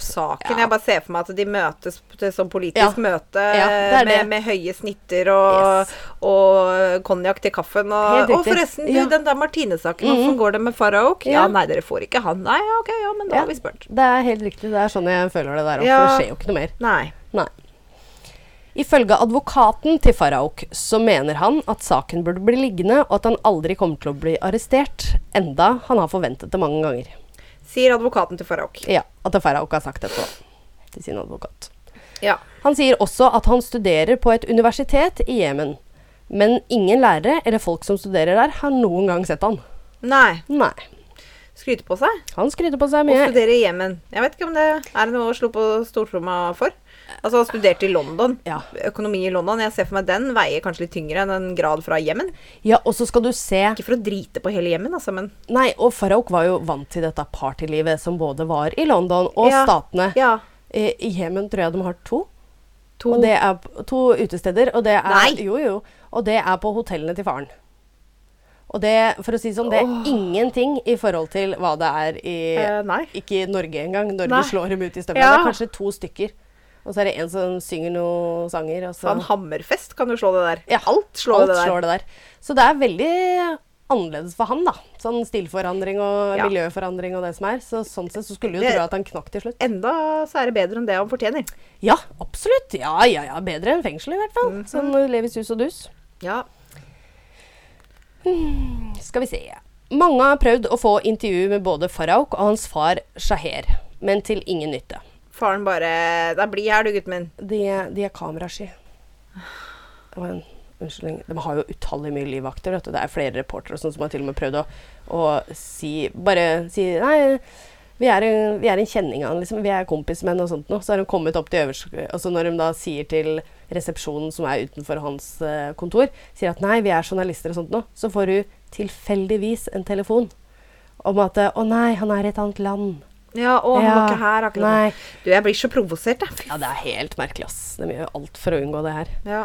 svada-prat.
saken.
Ja.
Jeg bare ser for meg at de møtes til
Ja.
sånn politisk møte
Ja, det er
med,
det.
med høye snitter og,
Yes.
og konjakk til kaffen. Og,
Helt riktig.
og forresten, du,
Ja. Mhm.
den der Martine-saken, hvordan går det med Faraok? Ja.
Ja.
nei, dere får ikke han. Nei, ja, ok, ja, men da
Ja.
har vi spurt.
Det er helt riktig. Det er sånn jeg føler det der òg, for
Ja.
det skjer jo ikke noe mer.
Nei.
Nei. Ifølge advokaten til Faraok så mener han at saken burde bli liggende, og at han aldri kommer til å bli arrestert, enda han har forventet det mange ganger.
Sier advokaten til Faraok.
Ja, at Faraok har sagt dette til sin advokat.
Ja.
Han sier også at han studerer på et universitet i Jemen, men ingen lærere eller folk som studerer der, har noen gang sett han.
Nei.
Nei.
Skryter på seg.
Han skryter på seg
Og
mye.
studerer i Jemen. Jeg vet ikke om det er noe å slå på stortromma for. Altså, han studerte i London.
Ja.
Økonomi i London. Jeg ser for meg den veier kanskje litt tyngre enn en grad fra Jemen.
Ja, og så skal du se
Ikke for å drite på hele Jemen, altså, men
Nei, og Farouk var jo vant til dette partylivet som både var i London og
Ja,
statene.
ja.
Eh, I Jemen tror jeg de har to.
To.
Og det er p- to utesteder, og det er
Oh. Nei!
Jo, jo. Og det er på hotellene til faren. Og det, for å si det sånn, det er ingenting i forhold til hva det er i
Eh, nei.
Ikke i Norge engang. Norge
Nei.
slår dem ut i støvler.
Ja.
Det er kanskje to stykker. Og så er det en som synger noen sanger, og så
Faen, Hammerfest kan jo slå det der.
Ja,
Alt slår
alt
det der.
slår det der. Så det er veldig annerledes for han, da. Sånn stilforandring og
Ja.
miljøforandring og det som er. Så sånn sett så skulle du jo
Det-
tro at han knakk til slutt.
Enda så er det bedre enn det han fortjener.
Ja, absolutt. Ja, ja, ja. Bedre enn fengsel, i hvert fall. Sånn eh, lev i sus og dus.
Ja.
Skal vi se. Mange har prøvd å få intervju med både Farauk og hans far Shaher, men til ingen nytte.
Faren bare Nei, bli her, du, gutten min.
De, de er kamerasky. Det var en unnskyldning. De har jo utallig mye livvakter. Vet du. Det er flere reportere og sånn som har til og med prøvd å, å si Bare si Nei, vi er en, vi er en kjenning av han, liksom. Vi er kompismenn og sånt noe. Så har de kommet opp til øverste Og så når de da sier til resepsjonen som er utenfor hans eh, kontor, sier at nei, vi er journalister og sånt noe, så får hun tilfeldigvis en telefon om at eh, å nei, han er i et annet land.
Ja, å, han
Ja.
var ikke her akkurat
Nei.
nå. Du, jeg blir så provosert, jeg. Fy.
Ja, det er helt merkelig, ass. De gjør jo alt for å unngå det her.
Ja.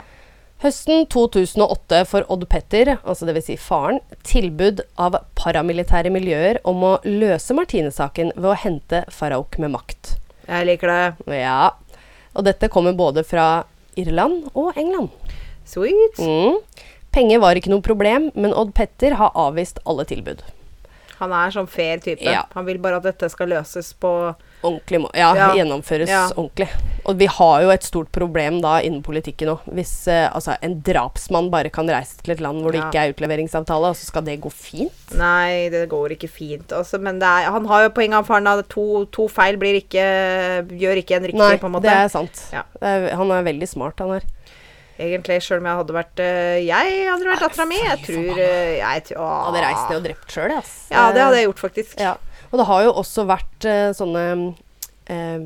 Høsten 2008 får Odd Petter, altså dvs. Si faren, tilbud av paramilitære miljøer om å løse Martine-saken ved å hente Faraok med makt.
Jeg liker det.
Ja, og dette kommer både fra Irland og England.
Sweet.
Mm. Penger var ikke noe problem, men Odd Petter har avvist alle tilbud.
Han er sånn fair type.
Ja.
Han vil bare at dette skal løses på
Ordentlig må ja,
Ja.
gjennomføres
Ja.
ordentlig. Og vi har jo et stort problem da innen politikken òg. Hvis eh, altså, en drapsmann bare kan reise til et land hvor det
Ja.
ikke er utleveringsavtale, og så skal det gå fint.
Nei, det går ikke fint. Altså, men det er, han har jo poeng, han faren. da. To, to feil blir ikke, gjør ikke en riktig,
Nei,
på en måte.
det er sant.
Ja.
Det er, han er veldig smart, han her.
Egentlig, sjøl om jeg hadde vært øh, Jeg hadde vært
Nei,
dattera mi. Jeg
fy
tror
forbanna.
øh, jeg tror-
Han hadde reist ned og drept sjøl, ass.
Ja, det hadde jeg gjort, faktisk.
Ja. Og det har jo også vært eh, sånne eh,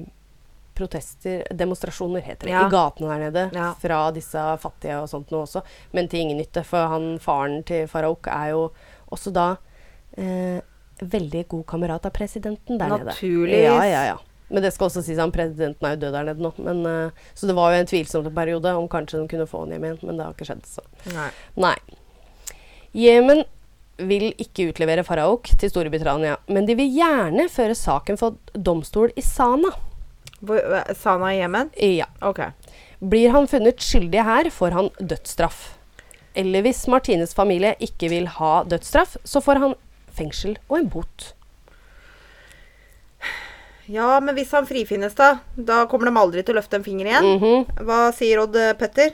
protester, demonstrasjoner heter det,
Ja.
i gatene der nede.
Ja.
Fra disse fattige og sånt noe også. Men til ingen nytte, for han faren til Farouk er jo også da eh, veldig god kamerat av presidenten der
Naturligvis.
nede. Ja, ja, ja. Men det skal også sies at presidenten er jo død der nede nå. Men, eh, så det var jo en tvilsom periode om kanskje de kunne få han hjem igjen, men det har ikke skjedd. så.
Nei.
Nei. Jemen vil ikke utlevere Faraok til Storbritannia, men de vil gjerne føre saken for domstol i Sana.
Hvor, øh, Sana i Jemen?
Ja.
Ok.
Blir han funnet skyldig her, får han dødsstraff. Eller hvis Martines familie ikke vil ha dødsstraff, så får han fengsel og en bot.
Ja, men hvis han
Mhm.
frifinnes, da? Da kommer de aldri til å løfte en finger igjen? Hva sier Odd øh, eh, Petter?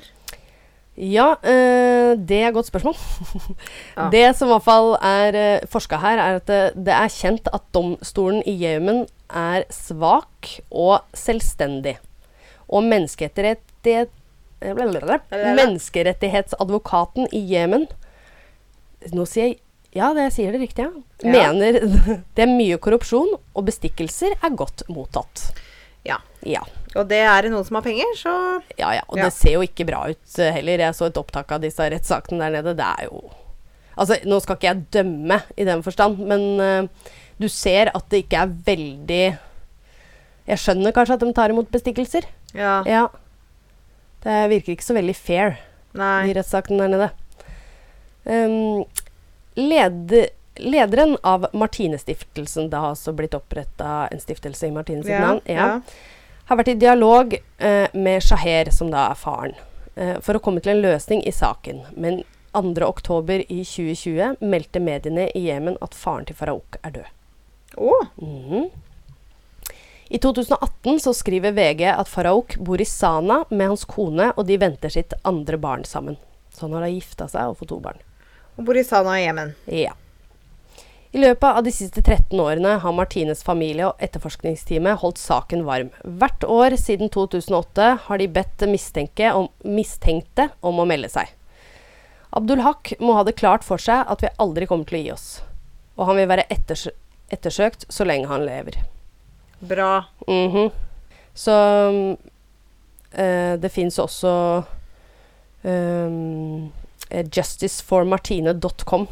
Ja, eh, det er et godt spørsmål.
Ja.
Det som i hvert fall er forska her, er at det, det er kjent at domstolen i Jemen er svak og selvstendig. Og menneskerettighet, eh, blablabla,
Blablabla.
menneskerettighetsadvokaten i Jemen Nå sier jeg ja, det jeg sier det riktig, ja.
Ja.
Mener det er mye korrupsjon, og bestikkelser er godt mottatt.
Ja.
Ja.
Og det er det noen som har penger, så
Ja, ja. Og
Ja.
det ser jo ikke bra ut eh, heller. Jeg så et opptak av disse rettssakene der nede. Det er jo Altså, nå skal ikke jeg dømme i den forstand, men eh, du ser at det ikke er veldig Jeg skjønner kanskje at de tar imot bestikkelser.
ja.
Ja. Det virker ikke så veldig fair,
Nei.
de rettssakene der nede. Um, lede, lederen av Martinestiftelsen, det har altså blitt oppretta en stiftelse i Martines sitt navn, ja, har vært i dialog eh, med Shaher, som da er faren, eh, for å komme til en løsning i saken. Men 2. oktober i 2020 meldte mediene i Jemen at faren til Farouk er død.
Å,
Mhm. I 2018 så skriver VG at Farouk bor i Sana med hans kone, og de venter sitt andre barn sammen. Så han har da gifta seg og fått to barn.
og bor i Sana i Jemen.
Ja. I løpet av de siste 13 årene har Martines familie og etterforskningsteamet holdt saken varm. Hvert år siden 2008 har de bedt mistenke om, mistenkte om å melde seg. Abdul Haq må ha det klart for seg at vi aldri kommer til å gi oss. Og han vil være etters ettersøkt så lenge han lever.
Bra.
Mhm. Så mm, eh, det fins også um, eh, justiceformartine.com.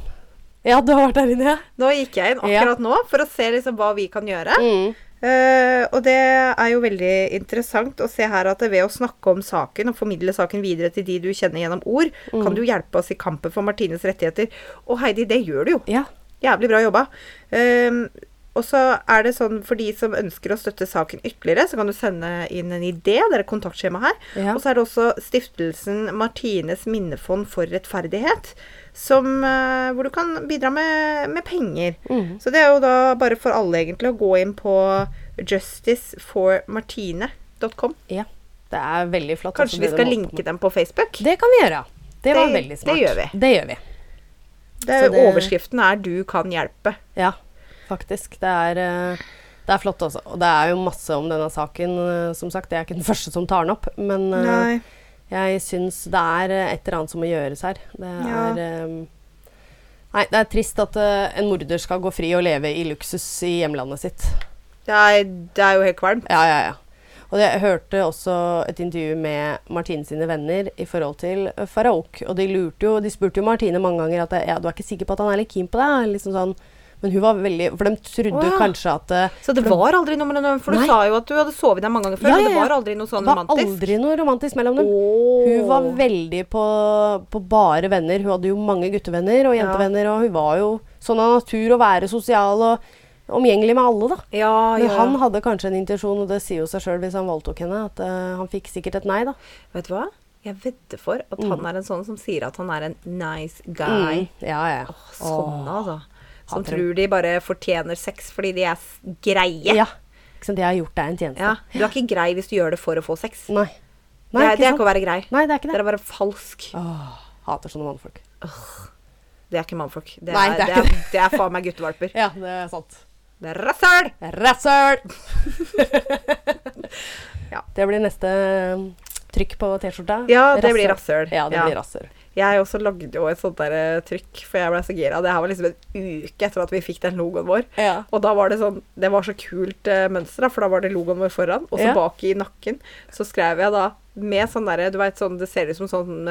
Ja, du har vært der inne, ja?
Nå gikk jeg inn akkurat nå for å se liksom hva vi kan gjøre.
Mm.
Eh, og det er jo veldig interessant å se her at ved å snakke om saken og formidle saken videre til de du kjenner gjennom ord,
Mm.
kan du hjelpe oss i kampen for Martines rettigheter. Og Heidi, det gjør du jo.
Ja.
Jævlig bra jobba. Ehm, og så er det sånn for de som ønsker å støtte saken ytterligere, så kan du sende inn en idé. Det er et kontaktskjema her.
Ja.
Og så er det også stiftelsen Martines minnefond for rettferdighet, som, eh, hvor du kan bidra med, med penger.
Mm.
Så det er jo da bare for alle, egentlig, å gå inn på justiceformartine.com.
ja. Det er veldig flott.
Kanskje
altså,
vi
det
skal
de holder på
linke dem på Facebook?
med. Det kan vi gjøre. Det var
Det-
veldig
det
smart.
gjør vi.
Det gjør vi.
Det er,
så det-
Overskriften er 'Du kan hjelpe'.
Ja, faktisk. Det er, eh, det er flott, altså. Og det er jo masse om denne saken, eh, som sagt. Jeg er ikke den første som tar den opp, men eh, jeg syns det er eh, et eller annet som må gjøres her. Det
Ja.
er eh, Nei, det er trist at eh, en morder skal gå fri og leve i luksus i hjemlandet sitt.
Det er, det er jo helt kvalmt.
Ja, ja, ja. Og jeg hørte også et intervju med Martine sine venner i forhold til eh, Farouk. Og de lurte jo, de spurte jo Martine mange ganger at ja, du er ikke sikker på at han er litt keen på deg? Liksom sånn. Men hun var veldig For de trodde
Å, ja.
kanskje at eh,
Så det var aldri noe mellom dem? For du
Nei.
sa jo at du hadde sovet der mange ganger før,
Ja,
men
ja,
det
ja.
var aldri noe
Det
sånn
var
romantisk?
aldri noe romantisk mellom dem. Hun var veldig på, på bare venner. Hun hadde jo mange guttevenner og
Ja.
jentevenner, og hun var jo sånn av natur å være sosial og omgjengelig med alle, da.
ja,
Men
ja, ja.
han hadde kanskje en intensjon, og det sier jo seg sjøl hvis han voldtok henne, at eh, han fikk sikkert et nei, da.
Vet du hva? Jeg vedder for at han er en sånn som sier at han er en nice
Mm.
guy.
Ja, ja.
Åh, Sånne, altså. Som
hater
tror de bare fortjener sex fordi de er s- greie.
ja. Ikke sant, jeg har gjort deg en tjeneste.
Ja, Du er ikke grei hvis du gjør det for å få sex.
Nei.
Det
Nei,
er, det er
sant?
ikke å være grei.
Nei, det er ikke
Det er
det.
å være falsk.
Åh, hater sånne mannfolk.
Det er ikke mannfolk. Det er,
Nei, det
det
er
er,
ikke
det. er faen meg guttevalper.
Ja, det er sant.
Det er rasshøl!
Rasshøl!
Ja.
Det blir neste um, trykk på T-skjorta.
Ja, det
Rasshøl.
blir rasshøl.
Ja, det
Ja.
blir rasshøl.
Jeg også lagde jo et sånt der eh, trykk, for jeg ble så gira. Det her var liksom en uke etter at vi fikk den logoen vår.
Ja.
Og da var det sånn Det var så kult eh, mønster, da, for da var det logoen vår foran, og
Ja.
så bak i nakken så skrev jeg da med sånn derre Du veit sånn Det ser ut som sånn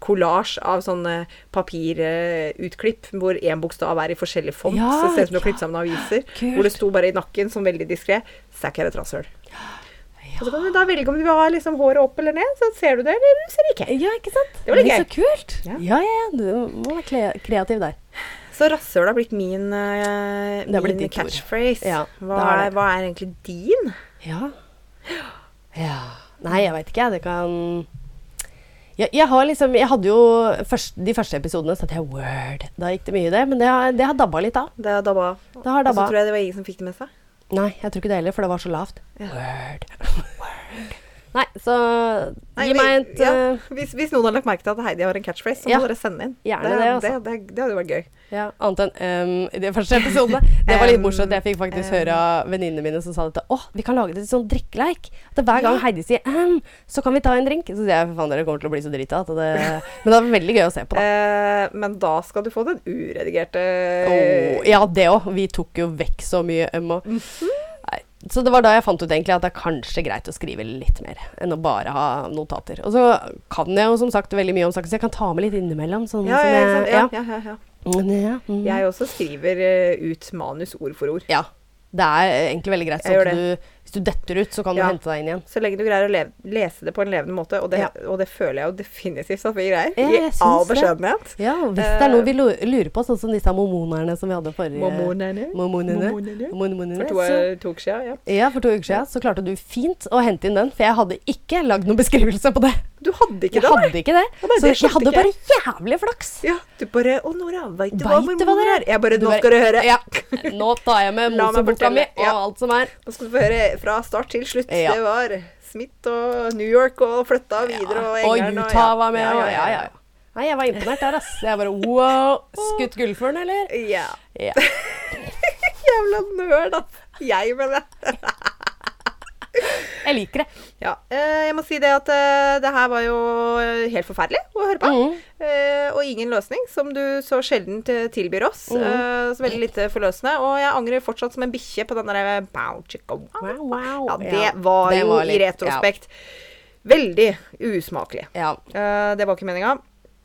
kollasj av sånne papirutklipp hvor én bokstav er i forskjellig font.
Ja,
så det ser ut som du
ja.
har klippet sammen aviser.
Kult.
Hvor det sto bare i nakken, sånn veldig diskré Sækker et rasshøl. Og så kan du da velge om du vil ha liksom håret opp eller ned, så ser du det, eller ser det ikke.
Ja, ikke sant?
Det var litt
Men
gøy.
Så kult.
Ja.
Ja. ja, ja, du må være kle- kreativ der.
Så rasshøl har blitt min, eh,
Det har blitt
min
ditt ord.
catchphrase.
Ja,
hva,
det har
er,
det.
hva er egentlig din?
Ja. ja. Nei, jeg veit ikke, jeg. Det kan jeg, jeg har liksom Jeg hadde jo først, de første episodene så hadde jeg Word. Da gikk det mye i det, men det har, det har dabba litt av.
Det er dabba.
Det har
Og så
dabba.
tror jeg det var ingen som fikk det med seg.
Nei, jeg tror ikke det heller, for det var så lavt.
Ja.
Word. Nei, så
Nei,
gi
vi-
meg et
ja,
eh,
hvis, hvis noen har lagt merke til at Heidi har en catchphrase, så må
Ja.
dere sende inn.
Gjerne
det,
det, altså.
det, det, det hadde vært gøy.
Ja, annet enn ehm, i de første episodene. Det var litt
Em,
morsomt. Jeg fikk faktisk
em.
høre av venninnene mine som sa dette. Å, vi kan lage det til sånn drikkeleik. At det hver gang Heidi sier ehm, så kan vi ta en drink. Så sier jeg fy faen, dere kommer til å bli så drita. at Det... Men det var veldig gøy å se på, da.
Eh, men da skal du få den uredigerte Eh,
Åh, ja, det òg. Vi tok jo vekk så mye øm og
Mhm.
Nei, Så det var da jeg fant ut egentlig at det er kanskje greit å skrive litt mer enn å bare ha notater. Og så kan jeg jo som sagt veldig mye om saken, så jeg kan ta med litt innimellom. Sånn
Ja, ja, ikke
som
sant?
jeg,
ja, ja, ja, ja.
Ja. Mm.
Jeg også skriver eh, ut manus ord for ord.
Ja. Det er egentlig veldig greit.
Jeg
Sånn
gjør
at du, hvis du detter ut, så kan
Ja.
du hente deg inn igjen.
Så lenge du greier å le lese det på en levende måte, og det,
Ja.
og det føler jeg jo definitivt at vi greier.
Ja,
I
jeg syns
all
det.
beskjedenhet.
Ja, og hvis det er noe vi lo- lurer på, sånn som disse mormonerne som vi hadde forrige
Mormonene.
Mormonene.
Mormonene.
Mormonene,
For to,
så-
to uker siden, ja.
Ja, for to uker siden så klarte du fint å hente inn den, for jeg hadde ikke lagd noen beskrivelse på det.
Du hadde ikke
Jeg
det, nei?
hadde ikke det.
Ja, nei,
Så
det
jeg
skjønte
hadde
ikke
bare jævlig flaks.
Ja, du bare Å, Nora, veit du hva
Vet du hva
mormoner
det
er? Jeg bare
Du
Nå
bare-
skal du høre.
Ja. Nå tar jeg med
La meg
moseboka
fortelle.
mi og
Ja.
alt som er.
Nå skal du få høre fra start til slutt.
Ja.
Det var Smith og New York og flytta videre og
Og
Engeren
Utah var med, og ja, ja. ja. Nei, jeg var imponert der, ass. Jeg bare wow. Skutt gullfuglen, eller?
Ja.
Ja.
Jævla nerd, ass. Jeg, mener det.
Jeg liker det.
Ja, eh, jeg må si det at eh, det her var jo eh, helt forferdelig å høre på.
Mhm.
Eh, og ingen løsning, som du så sjelden eh, tilbyr oss.
Mm.
Eh, så veldig lite forløsende. Og jeg angrer fortsatt som en bikkje på den derre bow, chicka, wow.
Wow, wow.
Ja, det var
det
jo
var litt-
i retrospekt veldig usmakelig.
Ja. ja.
Eh, det var ikke meninga.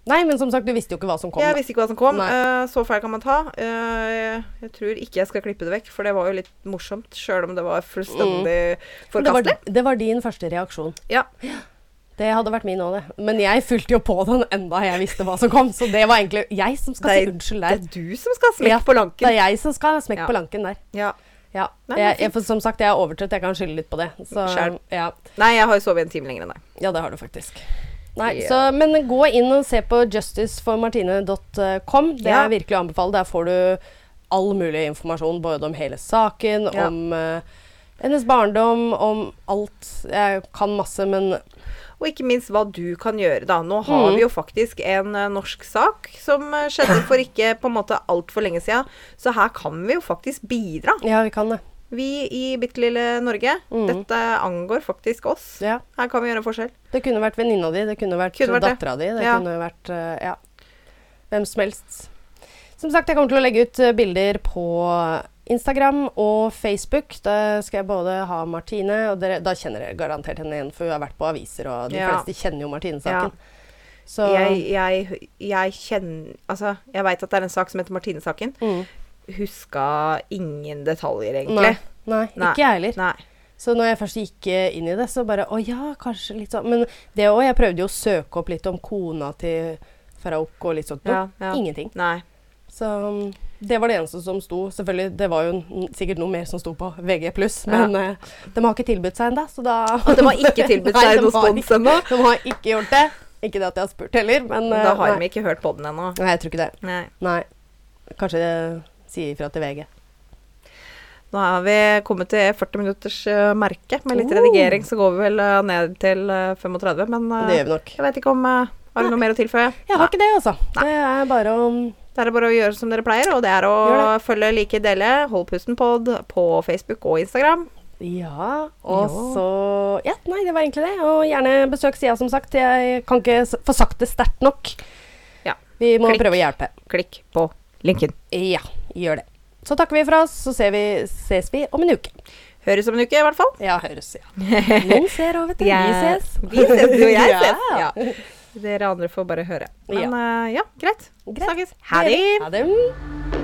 Nei, men som sagt, du visste jo ikke hva som kom.
Jeg
da.
visste ikke hva som kom.
Nei.
Eh, så feil kan man ta. Eh, jeg tror ikke jeg skal klippe det vekk, for det var jo litt morsomt, sjøl om det var fullstendig
Mm. Men det,
forkastelig.
var, det var din første reaksjon.
Ja.
Det hadde vært min òg, det. Men jeg fulgte jo på den enda jeg visste hva som kom. Så det var egentlig jeg som skal
Det
si
er-
Altså, unnskyld
Det
der.
er du som skal ha smekk
Ja,
på
Det
lanken.
er jeg som skal ha smekk
Ja.
på lanken der.
Ja.
Ja.
Nei, men
jeg,
fint.
jeg, for som sagt, jeg er overtrøtt. Jeg kan skylde litt på det. Så,
Skjønn.
ja.
Nei, jeg har jo sovet en time lenger enn deg.
ja, det har du faktisk. Nei,
Ja.
så, men gå inn og se på justiceformartine.com. Det
Ja.
er virkelig å anbefale. Der får du all mulig informasjon både om hele saken,
Ja.
om eh, hennes barndom, om alt. Jeg kan masse, men
Og ikke minst hva du kan gjøre, da. Nå
Mm.
har vi jo faktisk en eh, norsk sak som eh, skjedde for ikke på en måte altfor lenge sida, så her kan vi jo faktisk bidra.
ja, vi kan det.
Vi i bitte lille Norge.
Mm.
Dette angår faktisk oss.
Ja.
Her kan vi gjøre en forskjell.
Det kunne vært venninna di, det kunne vært,
Kunne vært det.
dattera di, det
Ja.
kunne vært eh, ja, hvem som helst. Som sagt, jeg kommer til å legge ut eh, bilder på Instagram og Facebook. Da skal jeg både ha Martine, og dere, da kjenner dere garantert henne igjen, for hun har vært på aviser, og de
Ja.
fleste kjenner jo Martine-saken. Så
Jeg, jeg, jeg kjenner Altså, jeg veit at det er en sak som heter Martine-saken.
mm.
Huska ingen detaljer,
nei,
egentlig.
nei,
Nei.
ikke jeg heller.
Nei.
Så når jeg først gikk eh, inn i det, så bare Å ja, kanskje litt sånn Men det òg, jeg prøvde jo å søke opp litt om kona til Faraok og litt sånt noe.
Ja, ja.
Ingenting.
Nei.
Så um, det var det eneste som sto. Selvfølgelig, det var jo n- sikkert noe mer som sto på VG+, men eh, de har ikke tilbudt seg ennå, så da
Og det var ikke tilbudt
Nei,
seg
de
noe
har
spons ennå.
ikke- De har ikke gjort det. Ikke det at jeg har spurt heller, men eh,
Da har
nei.
vi ikke hørt på den ennå.
nei, jeg tror ikke det.
Nei.
Nei. Kanskje det sier ifra til VG.
Nå er vi kommet til 40 minutters eh, merke. Med litt
Oh.
redigering så går vi vel eh, ned til eh, 35, men eh,
Det gjør vi nok.
jeg vet ikke om eh, Har du noe mer å tilføye?
Jeg har ikke det, altså. Det er bare å
Det er bare å gjøre som dere pleier, og det er å
Gjør
følge, like, dele Hold pusten-pod på Facebook og Instagram.
Ja, og
Ja.
så Ja, nei, det var egentlig det. Og gjerne besøk sida, som sagt. Jeg kan ikke s- få sagt det sterkt nok.
Ja.
Vi må
Klikk.
prøve å hjelpe.
Klikk på linken.
Ja, gjør det. Så takker vi for oss, så ser vi, ses vi om en uke.
Høres om en uke, i hvert fall.
Ja, høres, ja. Noen ser òg, vet du. Vi
Ja.
ses.
Vi ses, du og jeg
Ja.
ses. Ja. Dere andre får bare høre. Men eh, ja, ja greit.
Greit.
Snakkes. Ha det.
Ha det.